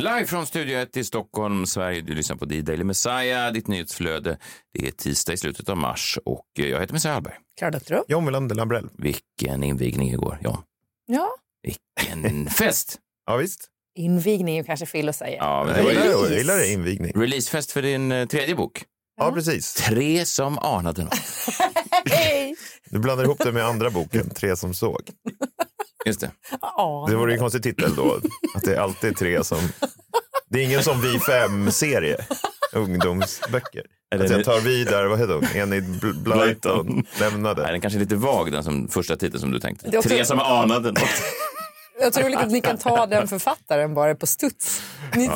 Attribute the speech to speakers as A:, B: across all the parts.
A: Live från Studio 1 i Stockholm, Sverige. Du lyssnar på D-Daily Messiah, ditt nyhetsflöde. Det är tisdag i slutet av mars och eh, jag heter Messiah Hallberg.
B: Clara Dottero.
C: John Melander Lambrell.
A: Vilken invigning igår, John.
B: Ja.
A: Vilken fest!
C: Ja, visst.
B: Invigning är kanske Phil säger.
A: Ja, men
C: Jag
A: det var
C: gillar,
A: ju
C: det, jag gillar det, invigning.
A: releasefest för din eh, tredje bok.
C: Ja, precis.
A: Tre som anade något.
B: Hej!
C: Du blandar ihop det med andra boken, Tre som såg.
A: Just det.
B: Ja.
C: Det vore ju en konstig titel då, att det är alltid tre som... Det är ingen som Vi fem-serie, ungdomsböcker.
A: Eller
C: Att
A: nu-
C: jag tar vidare, vad heter hon, Enid Bl- Blyton,
A: Nej,
C: lämnade.
A: den kanske är lite vag, den som, första titeln som du tänkte.
B: Det är också-
A: Tre som anade något.
B: Jag tror liksom att ni kan ta den författaren bara på studs. Ni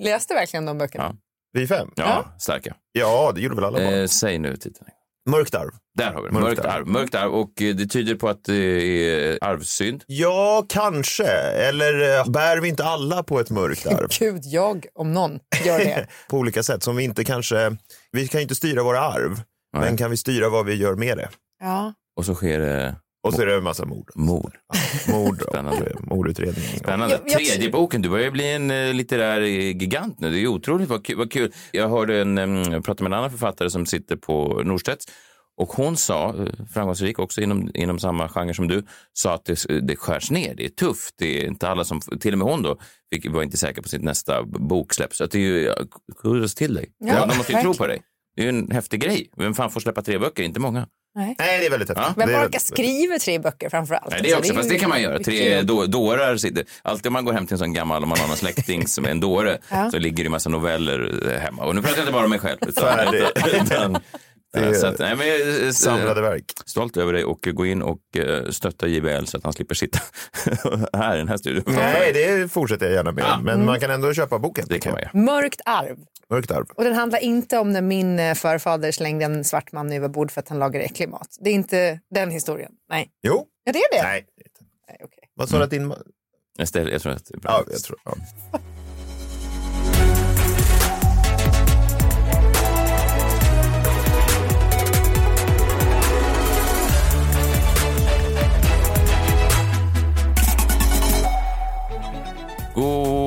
B: läste verkligen de böckerna?
A: Ja.
C: Vi fem?
A: Ja, starka.
C: Ja, det gjorde väl alla barn.
A: Eh, säg nu titeln.
C: Mörkt arv.
A: Där har vi det.
C: Mörkt
A: Mörkt
C: arv.
A: arv. Mörkt arv. Och eh, det tyder på att det är arvsynd.
C: Ja, kanske. Eller eh, bär vi inte alla på ett mörkt arv?
B: Gud, jag om någon gör det.
C: på olika sätt som vi inte kanske... Vi kan ju inte styra våra arv,
A: Nej.
C: men kan vi styra vad vi gör med det?
B: Ja.
A: Och så sker det
C: Och så är det en massa mord.
A: mord.
C: Mord och
A: Spännande.
C: eh, mordutredning.
A: Spännande.
B: Jag- jag-
A: Tredje boken, du börjar bli en eh, litterär eh, gigant nu. Det är otroligt vad kul. Vad kul. Jag hörde en, em, jag pratade med en annan författare som sitter på Norstedts och hon sa, eh, framgångsrik också inom, inom samma genre som du, sa att det, det skärs ner, det är tufft, det är inte alla som, till och med hon då, fick, var inte säker på sitt nästa boksläpp. Så att det är ju, ja, kudos till dig.
B: Ja,
A: Ja, de måste ju tro
B: verkligen.
A: på dig. Det är ju en häftig grej. Vem fan får släppa tre böcker? Inte många.
C: Nej, det är väldigt häftigt.
B: Men
C: Det är
B: orkar
C: väldigt-
B: skriva tre böcker framför allt?
A: Nej, det är
B: Alltså,
A: också, fast det kan man göra.
B: mycket
A: Tre
B: jobb.
A: då, dårar sitter. Alltid om man går hem till en sån gammal, om man har någon släkting som är en dåre, så ligger det en massa noveller eh, hemma. Och nu pratar jag inte bara om mig själv. Utan,
C: Färdig.
A: utan,
C: Det är
A: så att, nej, men, jag är, eh,
C: Samlade verk.
A: Stolt över dig och gå in och eh, stötta JBL så att han slipper sitta här i den här studion.
C: Nej, det fortsätter jag gärna med. Men man kan ändå köpa boken.
A: Det kan man göra.
B: Mörkt arv.
C: Mörkt arv.
B: Och den handlar inte om när min eh, förfader slängde en svart man över bord för att han lagade äcklig mat. Det är inte den historien. Nej.
C: Jo.
B: Ja, det är det.
C: Nej.
B: Nej, okej.
C: Vad sa du att din... ma-
A: Jag, ställer, jag tror att det är bra.
C: Ja, jag tror... Ja.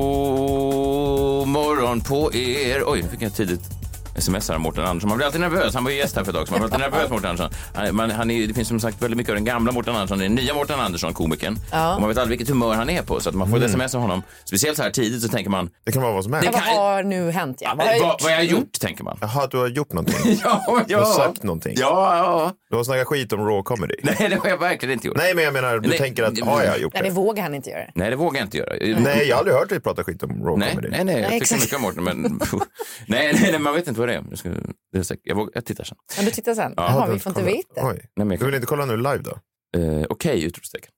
A: God morgon på er. Oj, nu fick jag ett tidigt sms här av Mårten Andersson. Man blir alltid nervös. Han var ju gäst här för ett tag sedan. Man blir alltid nervös, Mårten Andersson. Han, man, han är, det finns som sagt väldigt mycket av den gamla Mårten Andersson, den nya Mårten Andersson, komikern. Och man vet aldrig vilket humör han är på. Så att man får ett sms av honom, speciellt så här tidigt, så tänker man,
C: Det kan vara vad som
A: Det
B: Ja,
C: helst.
B: Vad
A: kan-
B: har nu hänt? Ja,
A: vad,
B: har jag
A: vad
B: gjort?
A: har jag gjort? Tänker man.
C: Jaha, att du har gjort någonting.
A: Ja,
C: Du har sagt någonting.
A: Ja, ja.
C: Du har snackat skit om raw comedy. Nej,
A: Nej, det har jag verkligen inte gjort. Nej,
C: men jag menar, du
A: Nej.
C: tänker att har jag gjort
B: Nej, det
C: det?
B: vågar han inte göra.
A: det vågar jag inte göra.
C: Nej, jag har aldrig hört dig prata skit om raw
A: Nej,
C: comedy.
A: nej, nej, jag
B: Nej,
A: tycker
B: exakt.
A: mycket om Mårten, men nej, nej, nej, man vet inte vad det är. Jag, ska, det är säkert, jag, vågar, jag tittar sen.
B: Men du tittar sen.
A: Ja,
B: Jaha,
C: den
B: vi får inte
C: kollar-
B: veta.
C: Oj.
A: Nej, men jag
C: Du vill inte kolla nu live då?
A: Eh, Okej, utropstecken.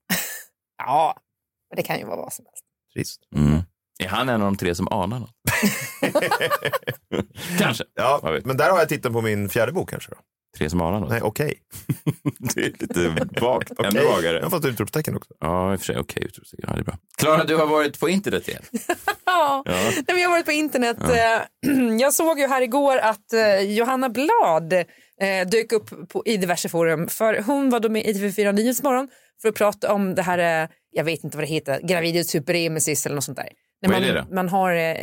B: Ja, men det kan ju vara vad som helst.
C: Trist.
A: Mm. Är han en av de tre som anar något? kanske. Vad
C: Ja,
A: vet.
C: men där har jag titeln på min fjärde bok kanske. Då.
A: Tre som anar något.
C: Nej, okej.
A: Det är lite vagt.
C: Okej.
A: Ännu
C: Jag
A: vagare.
C: har fått utropstecken också.
A: Ja, i och för sig. Okej, utropstecken. Ja, det är bra. Klara, du har varit på internet igen.
B: Ja. Nej, men jag har varit på internet. Eh, Jag såg ju här igår att eh, Johanna Blad eh, dök upp på, i diverse forum. För hon var då med i TV4 Nyhetsmorgon för att prata om det här, eh, jag vet inte vad det heter, gravidus superemesis eller något sånt där. När
A: Vad är
B: man,
A: det då?
B: man har eh,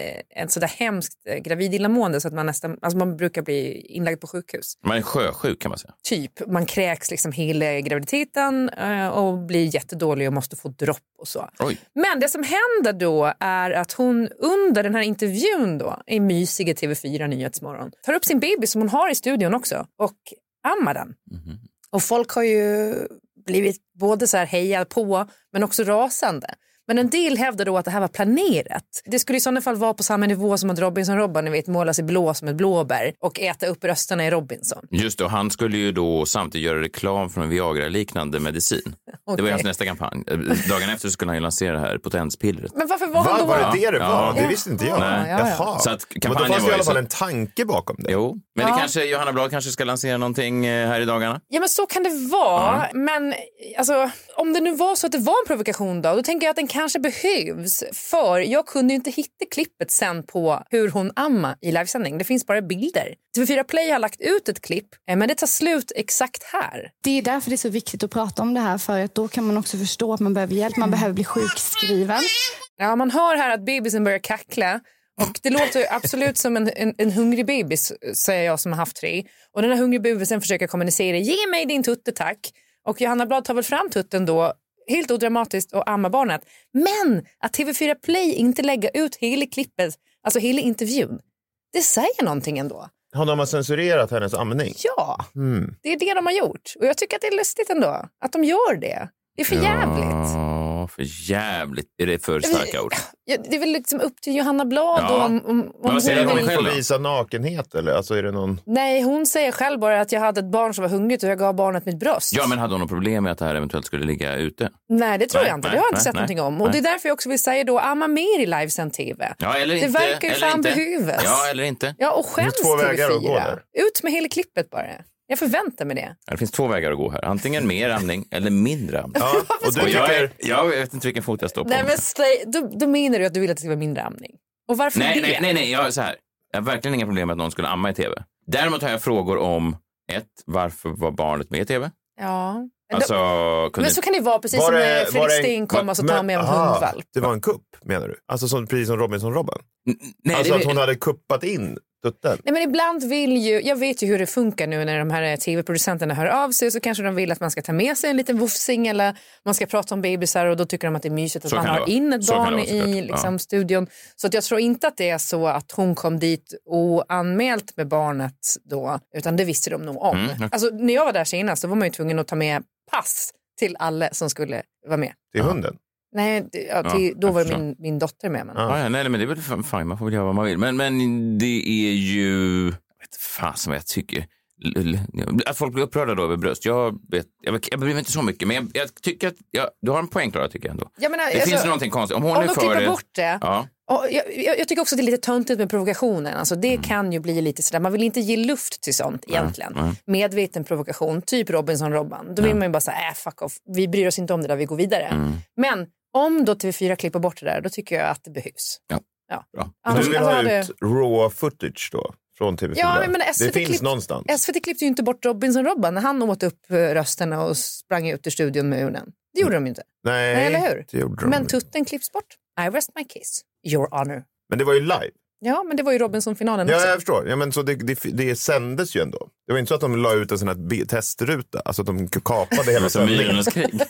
B: en sådär hemskt eh, gravid illamående så att man nästan, alltså man brukar bli inlagd på sjukhus.
A: Man är sjösjuk kan man säga.
B: typ. Man kräks liksom hela graviditeten eh, och blir jättedålig och måste få dropp och så.
A: Oj.
B: Men det som händer då är att hon under den här intervjun då i mysiga TV4 Nyhetsmorgon tar upp sin baby som hon har i studion också och ammar den.
C: Mhm.
B: Och folk har ju blivit både så här heja på men också rasande. Men en del hävdar då att det här var planerat. Det skulle i sådana fall vara på samma nivå som att Robinson-Robban, ni vet, måla sig blå som ett blåbär och äta upp rösterna i Robinson.
A: Just det, och han skulle ju då samtidigt göra reklam för en Viagra-liknande medicin. Det var ju
B: Okej.
A: hans nästa kampanj. Eh, Dagen efter skulle han ju lansera det här potenspillret.
B: Men varför var han
C: Va,
B: då?
C: var det det det
A: Ja.
C: var? Det
A: Ja.
C: visste inte jag.
B: Ja, ja, ja.
C: Jaha.
A: Så att
C: Men då
A: kampanjen
C: fanns det
A: var
C: i
A: ju
C: alla fall
A: så-
C: en tanke bakom det.
A: Jo, men det
B: Ja.
A: kanske, Johanna Blad kanske ska lansera någonting eh, här i dagarna.
B: Ja, men så kan det vara. Men alltså, om det nu var så att det var en provokation då, då tänker jag att den kanske behövs. För jag kunde ju inte hitta klippet sen på hur hon amma i livesändning. Det finns bara bilder. TV4 Play har lagt ut ett klipp, eh, men det tar slut exakt här.
D: Det är därför det är så viktigt att prata om det här för att då kan man också förstå att man behöver hjälp, man behöver bli sjukskriven.
B: Ja, man hör här att bebisen börjar kackla. Och det låter ju absolut som en, en, en hungrig bebis, säger jag som har haft tre. Och den här hungriga bebisen försöker kommunicera, ge mig din tutte tack. Och Johanna Blad tar väl fram tutten då, helt odramatiskt, och ammar barnet. Men att TV4 Play inte lägger ut hela klippet, alltså hela intervjun, det säger någonting ändå.
C: Har de censurerat hennes amning?
B: Ja,
A: Mm.
B: det är det de har gjort. Och jag tycker att det är lustigt ändå, att de gör det. Det är för jävligt.
A: Ja, för jävligt. Är det för starka ord?
B: Ja, det är väl liksom upp till Johanna Blad
A: Ja.
B: om, om, om
A: vad säger
B: hon
A: hon
B: vill-
A: själv?
C: Får visa nakenhet eller? Alltså är det någon...
B: Nej, hon säger själv bara att jag hade ett barn som var hungrigt och jag gav barnet mitt bröst.
A: Ja, men hade hon något problem med att det här eventuellt skulle ligga ute?
B: Nej, det tror
A: Nej,
B: jag inte.
A: nej,
B: det har jag inte
A: nej,
B: sett
A: nej,
B: någonting om. Och
A: nej.
B: det är därför jag också vill säga då, amma mer i livesänd tv.
A: Ja, eller
B: Det
A: inte.
B: verkar ju
A: eller
B: fan
A: inte.
B: behövas.
A: Ja, eller inte.
B: Ja, och skäms
C: två vägar att gå
B: TV4.
C: där.
B: Ut med hela klippet bara. Jag förväntar mig det.
A: Ja, Det finns två vägar att gå här. Antingen mer amning eller mindre amning.
C: Ja, och du
A: Och jag,
C: tycker...
A: är, jag vet inte vilken fot jag står på.
B: Nej, men slay, då, då menar du att du vill att det ska vara mindre amning. Och varför
A: nej,
B: det?
A: nej, nej, nej, jag är så här. Jag har verkligen inga problem med att någon skulle amma i tv. Däremot har jag frågor om ett, varför var barnet med i tv?
B: Ja.
A: Alltså,
B: Då-
A: kunde...
B: men så kan det vara, precis
C: Var
B: som
C: det-
B: när
C: var
B: Fredrik
C: det alltså, en-
B: Steen kom och så tar han med en
C: aha,
B: hundvalp.
C: Det var en kupp menar du? Alltså som, precis som Robinson-Robban?
A: nej,
C: Alltså
A: det...
C: att hon hade kuppat in tutten?
B: Nej, men ibland vill ju, jag vet ju hur det funkar nu när de här tv-producenterna hör av sig så kanske de vill att man ska ta med sig en liten vofsing eller man ska prata om bebisar och då tycker de att det är mysigt att
A: Så
B: man
A: kan det
B: har
A: vara.
B: in ett
A: Så kan det
B: barn
A: vara, såklart.
B: i liksom, studion. Så att jag tror inte att det är så att hon kom dit oanmält med barnet då, utan det visste de nog om.
A: Mm,
B: Alltså, när jag var där senast så var man ju tvungen att ta med pass till alla som skulle vara med.
C: Till hunden?
B: Nej, det- ja,
A: Ja,
B: till, då
A: jag
B: var
A: förstår.
B: min, min dotter med. Men.
C: Ja.
A: Ah, ja, nej, nej, men det är väl fan- fine, man får väl göra vad man vill. Men, men det är ju... Jag vet fan som jag tycker. L- l- Att folk blir upprörda då över bröst. Jag, vet, jag, vet- jag bryr mig inte så mycket, men jag, jag tycker att... Jag, du har en poäng, Klara, tycker jag ändå.
B: Jag menar,
A: Det
B: alltså,
A: finns någonting konstigt. Om hon
B: om
A: är
B: de
A: för
B: klipper
A: det...
B: bort det,
A: Ja.
B: Ja, jag, jag, jag tycker också att det är lite töntigt med provokationen. Alltså, det
C: Mm.
B: kan ju bli lite sådär, man vill inte ge luft till sånt egentligen. Medveten provokation, typ Robinson-Robban. Då vill man ju bara säga, äh, fuck off, vi bryr oss inte om det där, vi går vidare.
C: Mm.
B: Men om då TV4 klipper bort det där, då tycker jag att det behövs.
A: Ja.
B: Ja.
A: Bra.
B: Annars-
C: du vill
B: alltså,
C: ha
B: hade-
C: ut raw footage då? Från TV4?
B: Ja, men SVT
C: det finns
B: klipp-
C: någonstans.
B: SVT klippte ju inte bort Robinson-Robban när han åt upp eh, rösterna och sprang ut ur studion med urnen. Det gjorde de ju inte.
C: Mm. Nej,
B: Nej, eller hur?
C: det gjorde de
B: Men
C: inte.
B: tutten klipps bort. I rest my case, your honor.
C: men det var ju live.
B: Ja, men det var ju Robinson-finalen
C: Ja,
B: också.
C: jag förstår. Ja, men så det, det, det sändes ju ändå. Det var inte så att de la ut en sån här bi- testruta, alltså att de kapade hela
A: Som
C: sändningen.
A: myrornas krig.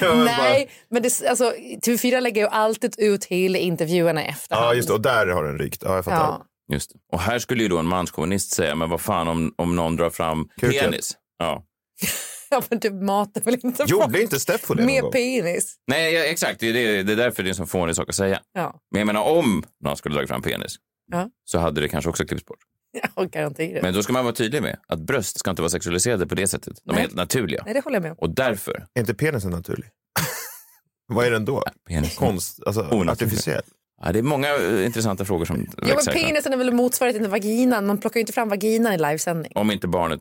C: Ja, men
B: Nej, men det, alltså, TV4 lägger ju alltid ut hela intervjuerna i
C: Bara,
B: efterhand.
C: ja, just det. Och där har den rykt. Ja, jag fattar.
B: Ja.
A: Just det. Och här skulle ju då en manskommunist säga, men vad fan om, om någon drar fram
C: Kuken.
A: penis? Ja.
B: ja, men du matar väl inte folk
C: Gjorde inte Steffo det någon
B: med
C: gång?
B: penis?
A: Nej, ja, exakt. Det är, det, det är därför det är en sån fånig sak att säga.
B: Ja,
A: Men jag menar, om någon skulle dra fram penis
B: Ja.
A: så hade det kanske också klippts bort.
B: jag garanterar.
A: Men då ska man vara tydlig med att bröst ska inte vara sexualiserade på det sättet. De är
B: Nej.
A: helt naturliga.
B: Nej, det håller jag med om.
A: Och därför...
C: Är inte penisen naturlig? Vad är den då?
A: Penis.
C: Konst, alltså
A: Onaturlig.
C: artificiell?
A: Ja, det är många eh, intressanta frågor som
B: Ja,
A: växer
B: men
A: här.
B: penisen är väl motsvarigheten till vaginan. Man plockar ju inte fram vaginan i livesändning.
A: Om inte barnet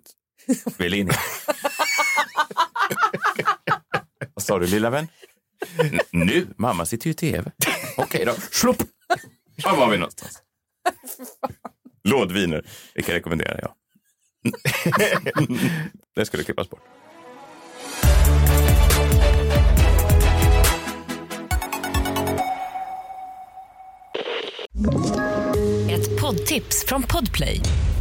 A: vill in. Vad sa du, lilla vän? N- nu? Mamma sitter ju i tv. Okej då. Slopp! Var var vi någonstans? Lådviner. Vilka rekommenderar jag? det skulle klippas bort.
E: Ett poddtips från Podplay.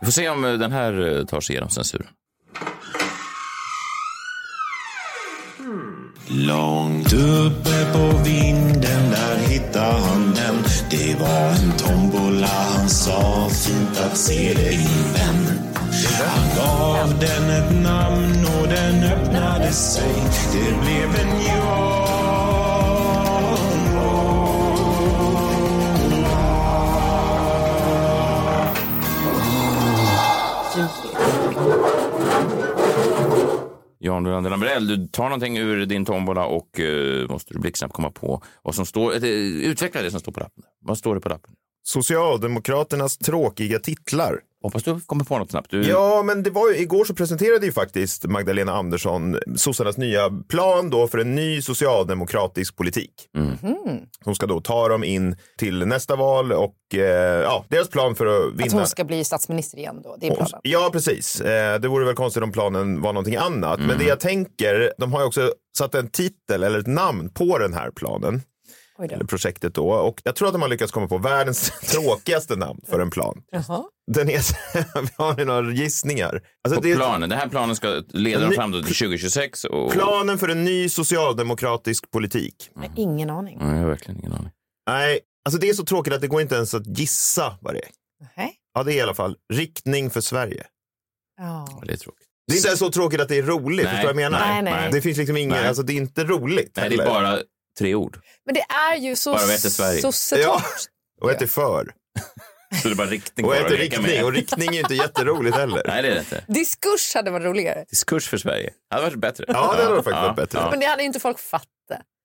A: Vi får se om eh, den här eh, tar sig igenom censuren.
F: Långt uppe på vinden där hittade han den Det var en tombola han sa fint att se dig min vän Han gav den ett namn och den öppnade sig Det blev en
A: Jan Welander Lambrell, du tar någonting ur din tombola och eh, måste du blixtsnabbt komma på vad som står. eh, utveckla det som står på lappen. Vad står det på lappen?
C: Socialdemokraternas tråkiga titlar.
A: Hoppas du kommer på något snabbt. Du...
C: Ja, men det var ju, igår så presenterade ju faktiskt Magdalena Andersson sossarnas nya plan då för en ny socialdemokratisk politik.
B: Mhm.
C: Som ska då ta dem in till nästa val och eh, ja, deras plan för att vinna.
B: Att hon ska bli statsminister igen då. Det är planen.
C: Ja, precis. Eh, Det vore väl konstigt om planen var någonting annat. Men det jag tänker, de har ju också satt en titel eller ett namn på den här planen. Eller projektet då. Och jag tror att de har lyckats komma på världens tråkigaste namn för en plan.
B: Jaha.
C: Den är, har ni några gissningar? Alltså
A: på planen. Den här planen ska leda dem fram till 2026. Och...
C: Planen för en ny socialdemokratisk politik.
B: Jag har ingen aning.
A: Nej, jag har verkligen ingen aning.
C: Nej, alltså det är så tråkigt att det går inte ens att gissa vad det är.
B: Nej.
C: Ja, det är i alla fall riktning för Sverige.
B: Ja.
A: Det är tråkigt.
C: Det är inte så tråkigt att det är roligt.
A: Nej.
C: Förstår du vad jag menar?
B: Nej, nej.
C: Det finns liksom ingen,
A: Nej.
C: alltså det är inte roligt.
A: Nej, det är
C: heller.
A: bara tre ord.
B: Men det är ju så...
A: Bara vete Sverige.
B: sossetort.
C: Och ett är för.
A: Så det är bara riktning
C: Och
A: kvar
C: ett
A: att
C: är
A: leka
C: riktning.
A: med.
C: Och riktning är ju inte jätteroligt heller.
A: Nej, det är det inte.
B: Diskurs hade varit roligare.
A: Diskurs för Sverige. Det hade varit bättre.
C: Ja, det hade faktiskt varit bättre.
A: ja.
B: Men det hade ju inte folk fattat.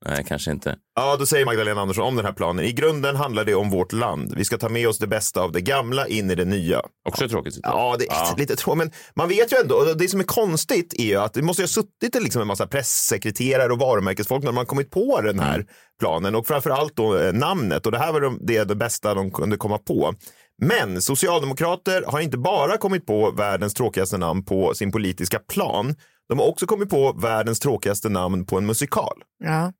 A: Nej, kanske inte.
C: Ja, då säger Magdalena Andersson om den här planen. I grunden handlar det om vårt land. Vi ska ta med oss det bästa av det gamla in i det nya.
A: Också tråkigt.
C: Ja, det är lite tråkigt. Men man vet ju ändå, och det som är konstigt är ju att det måste ju ha suttit liksom en massa pressekreterare och varumärkesfolk när man kommit på den här planen och framför allt då eh, namnet. Och det här var de, det, är det bästa de kunde komma på. Men socialdemokrater har inte bara kommit på världens tråkigaste namn på sin politiska plan. De har också kommit på världens tråkigaste namn på en musikal.
B: Ja.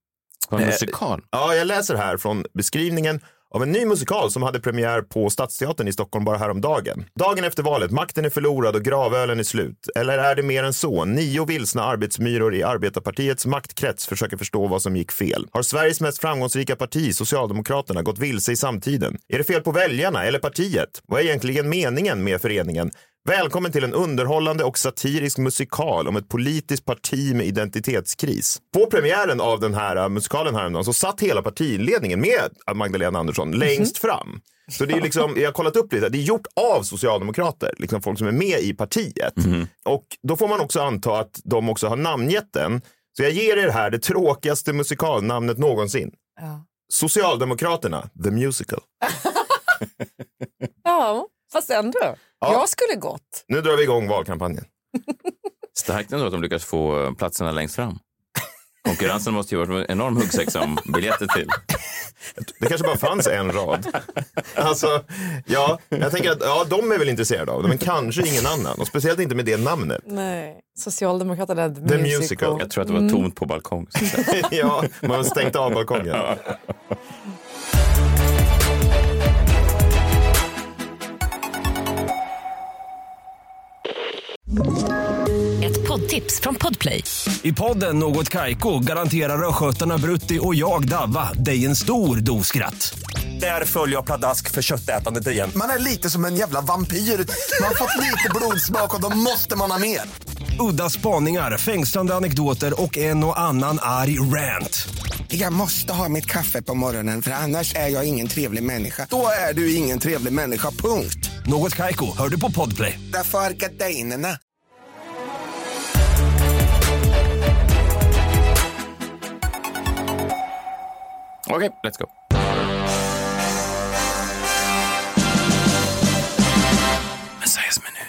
A: På en musikal?
C: Ja, jag läser här från beskrivningen av en ny musikal som hade premiär på Stadsteatern i Stockholm bara häromdagen. Dagen efter valet, makten är förlorad och gravölen är slut. Eller är det mer än så? Nio vilsna arbetsmyror i arbetarpartiets maktkrets försöker förstå vad som gick fel. Har Sveriges mest framgångsrika parti, Socialdemokraterna, gått vilse i samtiden? Är det fel på väljarna eller partiet? Vad är egentligen meningen med föreningen? Välkommen till en underhållande och satirisk musikal om ett politiskt parti med identitetskris. På premiären av den här äh, musikalen häromdagen så satt hela partiledningen med Magdalena Andersson längst fram. Så det är ju liksom, jag har kollat upp lite, det är gjort av socialdemokrater, liksom folk som är med i partiet. Och då får man också anta att de också har namngett den. Så jag ger er här det tråkigaste musikalnamnet någonsin.
B: Ja.
C: Socialdemokraterna, The Musical.
B: ja, fast ändå. Jag skulle gått.
C: Nu drar vi igång valkampanjen.
A: Starkt ändå att de lyckas få eh, platserna längst fram. Konkurrensen måste ju vara en enorm huggsexa om biljetter till.
C: Det kanske bara fanns en rad. Alltså, ja, jag tänker att ja, de är väl intresserade av det, men kanske ingen annan. Och speciellt inte med det namnet.
B: Nej. Socialdemokraterna The,
C: The Musical.
A: Jag tror att det var tomt på balkong.
C: ja, man har stängt av balkongen.
E: Ett poddtips från Podplay.
G: I podden Något Kaiko garanterar östgötarna Brutti och jag, Davva, dig en stor dos skratt. Där följer jag pladask för köttätandet igen.
H: Man är lite som en jävla vampyr. Man har fått lite blodsmak och då måste man ha mer.
G: Udda spaningar, fängslande anekdoter och en och annan arg rant.
I: Jag måste ha mitt kaffe på morgonen för annars är jag ingen trevlig människa. Då är du ingen trevlig människa, punkt.
G: Något Kaiko, hör du på Podplay.
I: Därför är gardinerna.
A: Okej, let's go. Messias minut.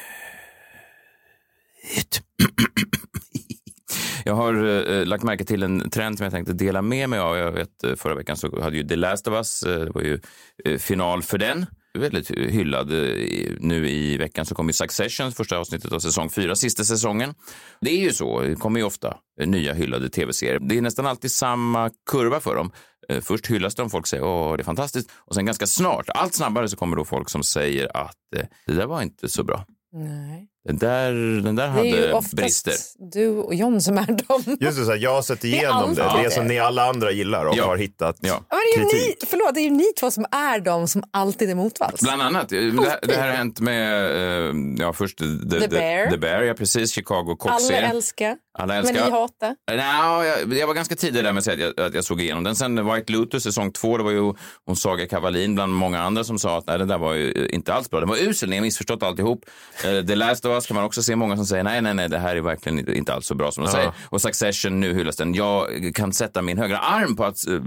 A: Jag har eh, lagt märke till en trend som jag tänkte dela med mig av. Jag vet, eh, förra veckan så hade ju The Last of Us, eh, det var ju eh, final för den. Väldigt hyllad. eh, i- Nu i veckan så kom ju Succession, första avsnittet av säsong fyra, sista säsongen. Det är ju så, det kommer ju ofta eh, nya hyllade tv-serier. Det är nästan alltid samma kurva för dem. Eh, Först hyllas de, folk säger åh, det är fantastiskt. Och sen ganska snart, allt snabbare, så kommer då folk som säger att eh, det där var inte så bra.
B: Nej.
A: Den där, den där
B: Det är ju
A: hade
B: oftast
A: brister.
B: du och John som är dem.
C: Just det, så här, jag har sett
B: är
C: igenom det.
B: alltid
C: Det är som
B: det.
C: ni alla andra gillar och har hittat
B: Ja, Men det, är ju
C: kritik.
B: ni, förlåt, det är ju ni två som är de som alltid är motvalls.
A: Bland annat. eh, men Det, här- det här har hänt med, eh, ja först The,
B: The Bear.
A: The Bear, ja precis, Chicago
B: Alla
A: Cop-serien.
B: älskar,
A: Alla
B: men ni
A: älskar.
B: hatar.
A: Nja, jag, jag var ganska tidig där med att säga att jag, att jag såg igenom den. Sen White Lotus säsong två, det var ju hon Saga Kavalin bland många andra som sa att nej, den där var ju eh, inte alls bra. Den var usel, ni har missförstått alltihop. Eh, The Last of Us kan man också se många som säger nej, nej, nej, det här är verkligen inte- inte alls så bra som de
J: Ja.
A: säger. Och Succession, nu hyllas den. Jag kan sätta min högra arm på att eh,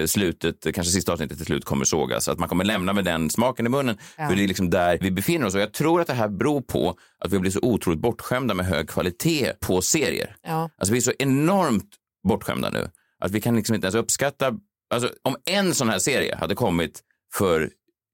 A: eh, slutet, eh, kanske sista avsnittet till slut kommer sågas. Att man kommer lämna med den smaken i munnen.
J: Ja.
A: För det är liksom där vi befinner oss. Och jag tror att det här beror på att vi blir så otroligt bortskämda med hög kvalitet på serier.
B: Ja.
A: Alltså vi är så enormt bortskämda nu att vi kan liksom inte ens uppskatta. Alltså om en sån här serie hade kommit för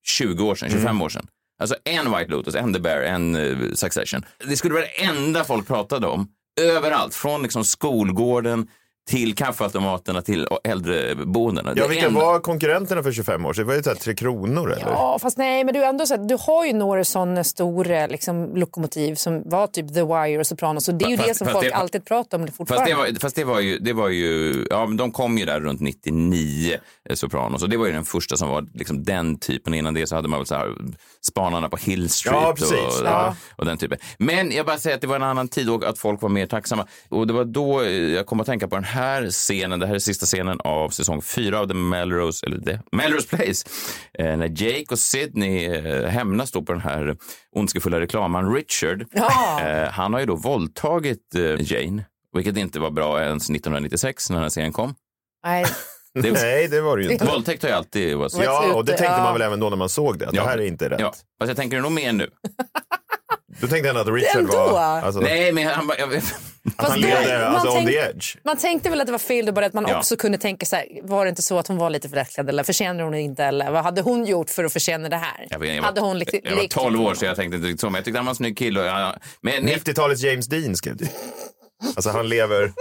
A: 20 år sedan, 25 år sedan. Alltså en White Lotus, en The Bear, en eh, Succession. Det skulle vara det enda folk pratade om överallt. Från liksom skolgården till kaffeautomaterna till äldreboendena.
C: Ja,
A: Det
C: vilka
A: enda-
C: var konkurrenterna för 25 år sedan? Det var ju så här Tre Kronor eller?
B: Ja, fast nej, men du, är ändå så här, du har ju några sådana stora liksom, lokomotiv som var typ The Wire och Sopranos. Och det är ju
A: Fast-
B: det som
A: fast
B: folk
A: det-
B: alltid pratar om
A: Fast
B: fortfarande.
A: det, var, fast det var ju, det var ju ja, men de kom ju där runt 99, eh, Sopranos, och det var ju den första som var liksom den typen. Innan det så hade man väl så här, Spanarna på Hill Street
C: Ja, precis.
A: och,
C: Ja.
A: och den typen. Men jag bara säger att det var en annan tid och att folk var mer tacksamma. Och det var då eh, jag kom att tänka på den här scenen, det här är sista scenen av säsong fyra av The Melrose, eller The Melrose Place, eh, när Jake och Sidney eh, hämnas då på den här ondskefulla reklamen Richard.
B: Ja.
A: Eh, han har ju då våldtagit eh, Jane, vilket inte var bra ens 1996 när den här serien kom.
B: Nej.
C: Nej, det var det ju inte.
A: Våldtäkt har ju alltid varit så.
C: Ja, och det tänkte man väl även då när man såg det. Att Det här är inte rätt.
A: Ja, fast jag tänker nog mer nu.
C: Du tänkte ändå att Richard
B: Ändå?
C: var... Alltså,
A: Nej, men han, jag, jag,
C: att han levde
B: man
C: alltså, on
B: tänk-
C: the edge.
B: Man tänkte väl att det var fel, då, bara att man
A: Ja.
B: också kunde tänka så här, var det inte så att hon var lite för lättklädd eller förtjänar hon inte eller vad hade hon gjort för att förtjäna det här?
A: jag, vet, jag,
B: hade hon
A: var,
B: lekt-
A: jag var
B: lekt-
A: 12 år så jag tänkte inte riktigt så, men jag tyckte han var en snygg kille. Och jag, men
C: 90-talets James Dean skrev du. Alltså han lever...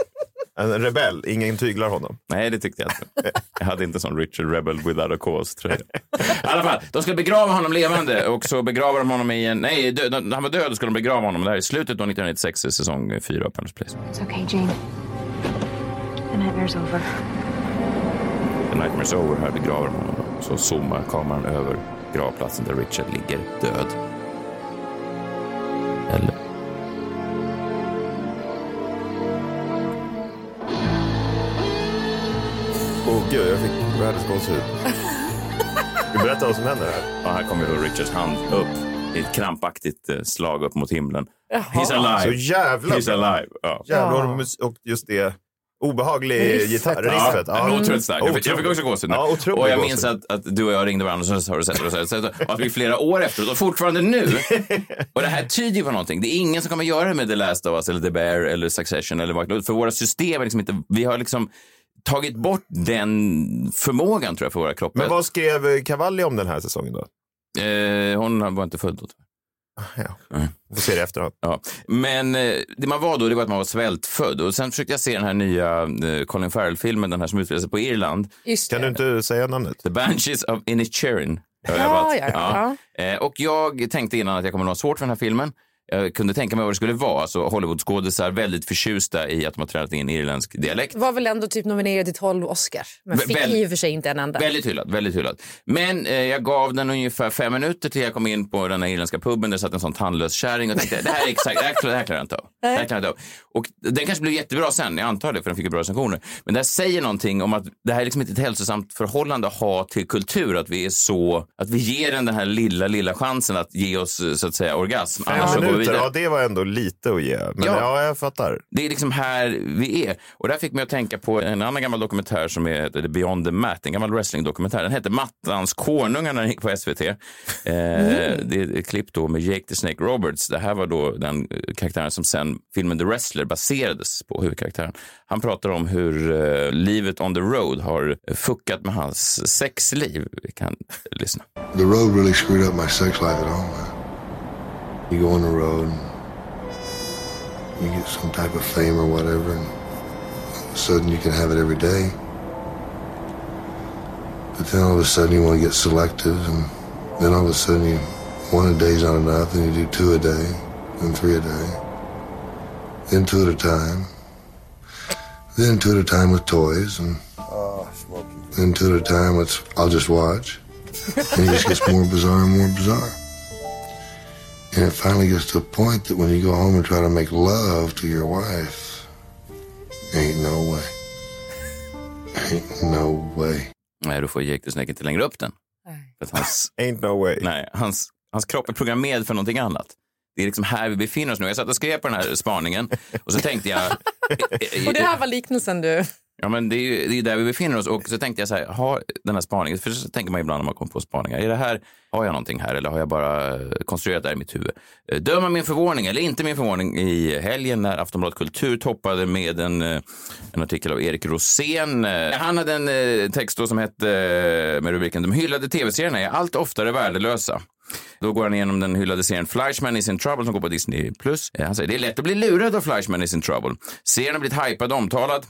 C: En rebell, ingen tyglar honom.
A: Nej, det tyckte jag inte. Jag hade inte sån Richard Rebel without a cause tror jag. I alla fall, de skulle begrava honom levande och så begravar de honom i en... Nej, dö, när han var död skulle de begrava honom. Det här är slutet av 1996, säsong 4 av Paradise Place.
K: It's okay, Jane. The nightmare's over.
A: The Nightmare's Over, här begraver de honom. Så zoomar kameran över gravplatsen där Richard ligger död. Eller?
C: Åh gud, jag fick världens gåshud. Ska du berätta vad som händer här?
A: Ja, här kommer då Richards hand upp i ett krampaktigt eh, slag upp mot himlen. He's
C: Så
A: alive!
C: jävla
A: He's
C: bra.
A: alive! Ja.
C: Jävlar och mus- och just det obehaglig
A: Riffet.
C: gitarr. Riffet.
A: Ja, men Otroligt starkt. Jag fick- Jag fick också gåshud. nu.
C: Ja, otroligt
A: och jag
C: gåshud.
A: minns att, att du och jag ringde varandra och så sa du så här och så här, och så här, och att vi flera år efteråt och fortfarande nu. Och det här tyder ju på någonting. Det är ingen som kommer göra det med The Last of Us eller The Bear eller Succession eller vad För våra system är liksom inte, vi har liksom tagit bort den förmågan tror jag för våra kroppar.
C: Men vad skrev eh, Cavalli om den här säsongen då?
A: Eh, hon var inte född då. Ja.
C: Får se det efteråt.
A: Ja. Men eh, det man var då, det var att man var svältfödd. Och sen försökte jag se den här nya eh, Colin Farrell-filmen, den här som utspelar sig på Irland.
B: Just
C: kan du inte säga namnet?
A: The Banshees of Inisherin. har jag
B: Ja,
A: övat.
B: ja, ja.
A: Eh, Och jag tänkte innan att jag kommer att ha svårt för den här filmen. Jag kunde tänka mig vad det skulle vara. Alltså Hollywoodskådisar väldigt förtjusta i att de har tränat in irländsk dialekt.
B: Var väl ändå typ nominerad till 12 Oscar, men
A: Vä-
B: fick
A: väl-
B: i och för sig inte en enda.
A: Väldigt hyllad, väldigt hyllad. Men eh, jag gav den ungefär fem minuter till jag kom in på den här irländska puben. Där satt en sån tandlös kärring och tänkte det här är exakt, det här, klar- det här klarar jag inte av. Det här klarar jag inte av. Och den kanske blev jättebra sen, jag antar det, för den fick ju bra recensioner. Men det här säger någonting om att det här är liksom inte ett hälsosamt förhållande att ha till kultur. Att vi är så, att vi ger den den här lilla, lilla chansen att ge oss eh, så att säga orgasm.
C: Fem
A: Annars så går vi
C: minuter,
A: vidare.
C: ja det var ändå lite att ge. Men ja,
A: Ja.
C: jag fattar.
A: Det är liksom här vi är. Och där fick mig att tänka på en annan gammal dokumentär som är heter The Beyond the Mat, en gammal wrestlingdokumentär. Den hette Mattans konungar när den gick på SVT. Eh, Det är ett klipp då med Jake the Snake Roberts. Det här var då den eh, karaktären som sen filmen The Wrestler baserades på huvudkaraktären. Han pratar om hur eh, livet on the road har fuckat med hans sexliv. Vi kan eh, lyssna.
L: The road really screwed up my sex life at all. man. You go on the road, you get some type of fame or whatever, and all of a sudden you can have it every day. But then all of a sudden you want to get selective, and then all of a sudden you one a day's not enough, and you do two a day, then three a day, then two at a time, then two at a time with toys, and then two at a time. Let's I'll just watch, and it just gets more bizarre and more bizarre. And it finally gets to a point that when you go home and try to make love to your wife, ain't no way. Ain't no way.
A: Nej, då får Jake the Snake inte längre upp den. För att hans,
C: Ain't no way.
A: Nej, hans, hans kropp är programmerad för någonting annat. Det är liksom här vi befinner oss nu. Jag satt och skrev på den här spaningen och så tänkte jag... eh,
B: Och det här var liknelsen du...
A: Ja, men det är ju det är där vi befinner oss. Och så tänkte jag så här, har den här spaningen, för så tänker man ibland när man kommer på spaningar, är det här, har jag någonting här eller har jag bara eh, konstruerat det här i mitt huvud? Eh, Döm om min förvåning eller inte min förvåning i helgen när Aftonbladet Kultur toppade med en, eh, en artikel av Erik Rosén. Eh, Han hade en eh, text då som hette, eh, med rubriken De hyllade tv-serierna är allt oftare värdelösa. Då går han igenom den hyllade serien Fleischman is in trouble som går på Disney+. Eh, Han säger, det är lätt att bli lurad av Fleischman is in trouble. Serien har blivit hypad och omtalad.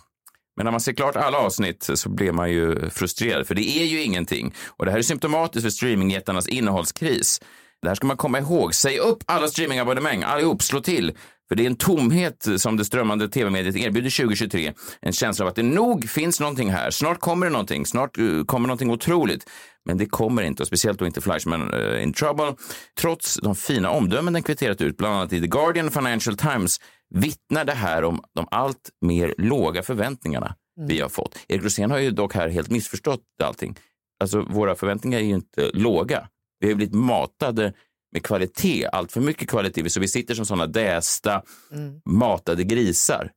A: Men när man ser klart alla avsnitt så blir man ju frustrerad, för det är ju ingenting. Och det här är symptomatiskt för streamingjättarnas innehållskris. Det här ska man komma ihåg. Säg upp alla streamingabonnemang, allihop, slå till. För det är en tomhet som det strömmande tv-mediet erbjuder 2023. En känsla av att det nog finns någonting här. Snart kommer det någonting. Snart eh, kommer någonting otroligt. Men det kommer inte, och speciellt då inte Fleischman eh, in trouble. Trots de fina omdömen den kvitterat ut, bland annat i The Guardian och Financial Times, vittnar det här om de allt mer låga förväntningarna
C: Mm.
A: vi har fått. Erik Rosén har ju dock här helt missförstått allting. Alltså, våra förväntningar är ju inte låga. Vi har ju blivit matade med kvalitet, allt för mycket kvalitet. Så vi sitter som sådana dästa, matade grisar.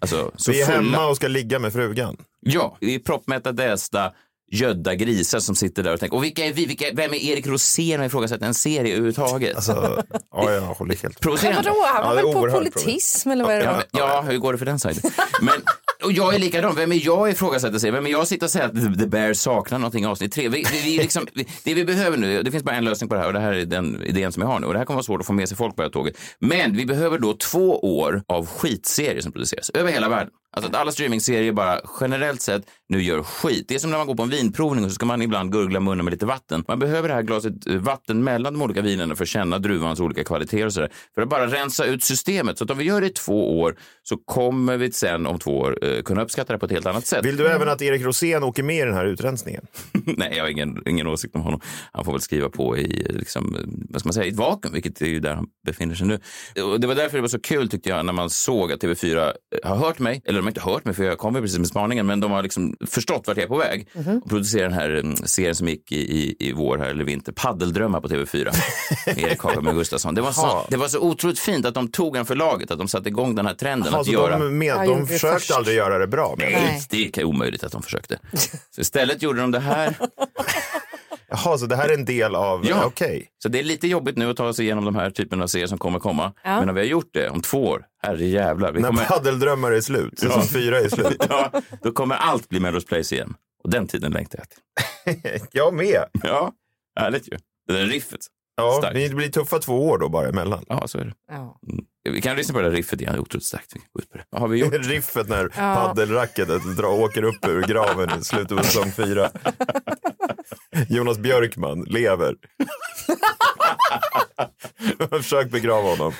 A: Alltså, så
C: Mm. vi är
A: fulla.
C: hemma och ska ligga med frugan.
A: Ja, vi är proppmätta, dästa, gödda grisar som sitter där och tänker, och vilka är vi? Vilka, vem är Erik Rosén? Har ifrågasatt en serie överhuvudtaget.
C: Alltså, ja, jag håller helt
B: Men
A: Provocerande.
B: vadå, han var väl på politism eller vad är det?
A: Ja,
B: var?
A: ja, hur går det för den sajten? Men, och jag är likadan. Vem är jag ifrågasätter sig? Vem är jag sitter och säger att The Bear saknar någonting i avsnitt tre? Vi, vi, vi liksom, vi, det vi behöver nu, det finns bara en lösning på det här och det här är den idén som jag har nu. Och det här kommer vara svårt att få med sig folk på det här tåget. Men vi behöver då två år av skitserier som produceras över hela världen. Alltså att alla streamingserier bara generellt sett nu gör skit. Det är som när man går på en vinprovning och så ska man ibland gurgla munnen med lite vatten. Man behöver det här glaset eh, vatten mellan de olika vinerna för att känna druvans olika kvaliteter och sådär. För att bara rensa ut systemet. Så att om vi gör det i två år så kommer vi sen om två år eh, kunna uppskatta det på ett helt annat sätt.
C: Vill du även att Erik Rosén åker med i den här utrensningen?
A: Mm. Nej, jag har ingen, ingen åsikt om honom. Han får väl skriva på i eh, liksom, eh, vad ska man säga, i ett vakuum, vilket är ju där han befinner sig nu. Och det var därför det var så kul tyckte jag när man såg att TV4 eh, har hört mig, eller de har inte hört mig för jag kom ju precis med spaningen, men de har liksom förstått vart jag är på väg
C: Mhm.
A: och producerar den här mm, serien som gick i, i, i vår här, eller vinter, Paddeldrömmar på TV4. med Erik Hagberg och Gustafsson. Det var, så,
C: Jaha.
A: det var så otroligt fint att de tog en förlaget, att de satte igång den här trenden
C: Jaha,
A: att
C: så
A: göra.
C: de med- Jag de gjorde det försökte först. aldrig göra det bra. men-
A: Nej, det är omöjligt att de försökte. Så istället gjorde de det här.
C: Jaha, så det här är en del av...
A: Ja.
C: Okej.
A: Så det är lite jobbigt nu att ta sig igenom de här typerna av serier som kommer komma.
C: Ja.
A: Men när vi har gjort det om två år, herrejävlar. Vi
C: När
A: kommer,
C: Paddeldrömmar är slut, säsong fyra är slut.
A: ja, då kommer allt bli Melrose Place igen. Och den tiden längtar jag till.
C: Jag med.
A: Ja, härligt ju. Det där riffet.
C: Ja,
A: Starkt.
C: det blir tuffa två år då bara emellan.
A: Ja, så är det.
B: Ja.
A: Vi kan lyssna på det där riffet igen, det är otroligt starkt. Vi går ut på det. Vad har vi gjort?
C: Riffet när paddelracketet drar, åker upp ur graven i slutet av säsong fyra. Jonas Björkman lever. Jag har försökt begrava honom.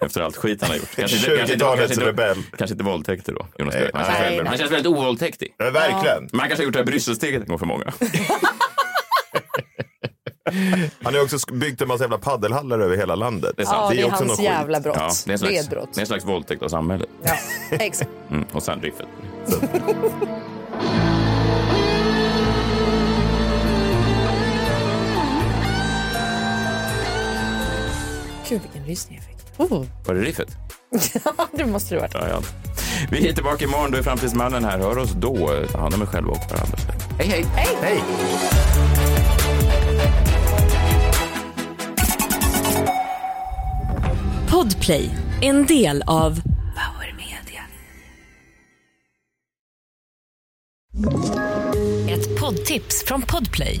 A: Efter allt skit han har gjort. Kanske inte- kanske inte-
C: 20-talets
A: kanske inte-
C: rebell.
A: Kanske inte våldtäkter då, Jonas
C: Nej,
A: Björkman. Han känns
C: nej,
A: väldigt-
C: men-
A: Han känns väldigt ovåldtäktig.
C: Ja, verkligen.
A: Men han kanske har gjort det här Brysselsteget en gång för många.
C: Han har ju också sk- byggt en massa jävla paddelhallar över hela landet.
A: Det är sant.
B: det är
C: också
B: hans
C: någon skit.
B: jävla brott.
A: Ja, det, är en
B: Det är
A: slags,
B: ett brott.
A: det är en slags våldtäkt av samhället.
B: Ja, exakt.
A: Mm, och sen riffet.
B: Gud, vilken rysning jag fick. Oh.
A: Var det riffet?
B: Ja, det måste det varit.
A: Ja, ja. Vi är tillbaka imorgon. Då är Framtidsmannen här. Hör oss då. Ta hand om er själva och varandra. Hej, hej!
B: Hej!
A: hej.
E: Podplay, en del av Power Media. Ett poddtips från Podplay.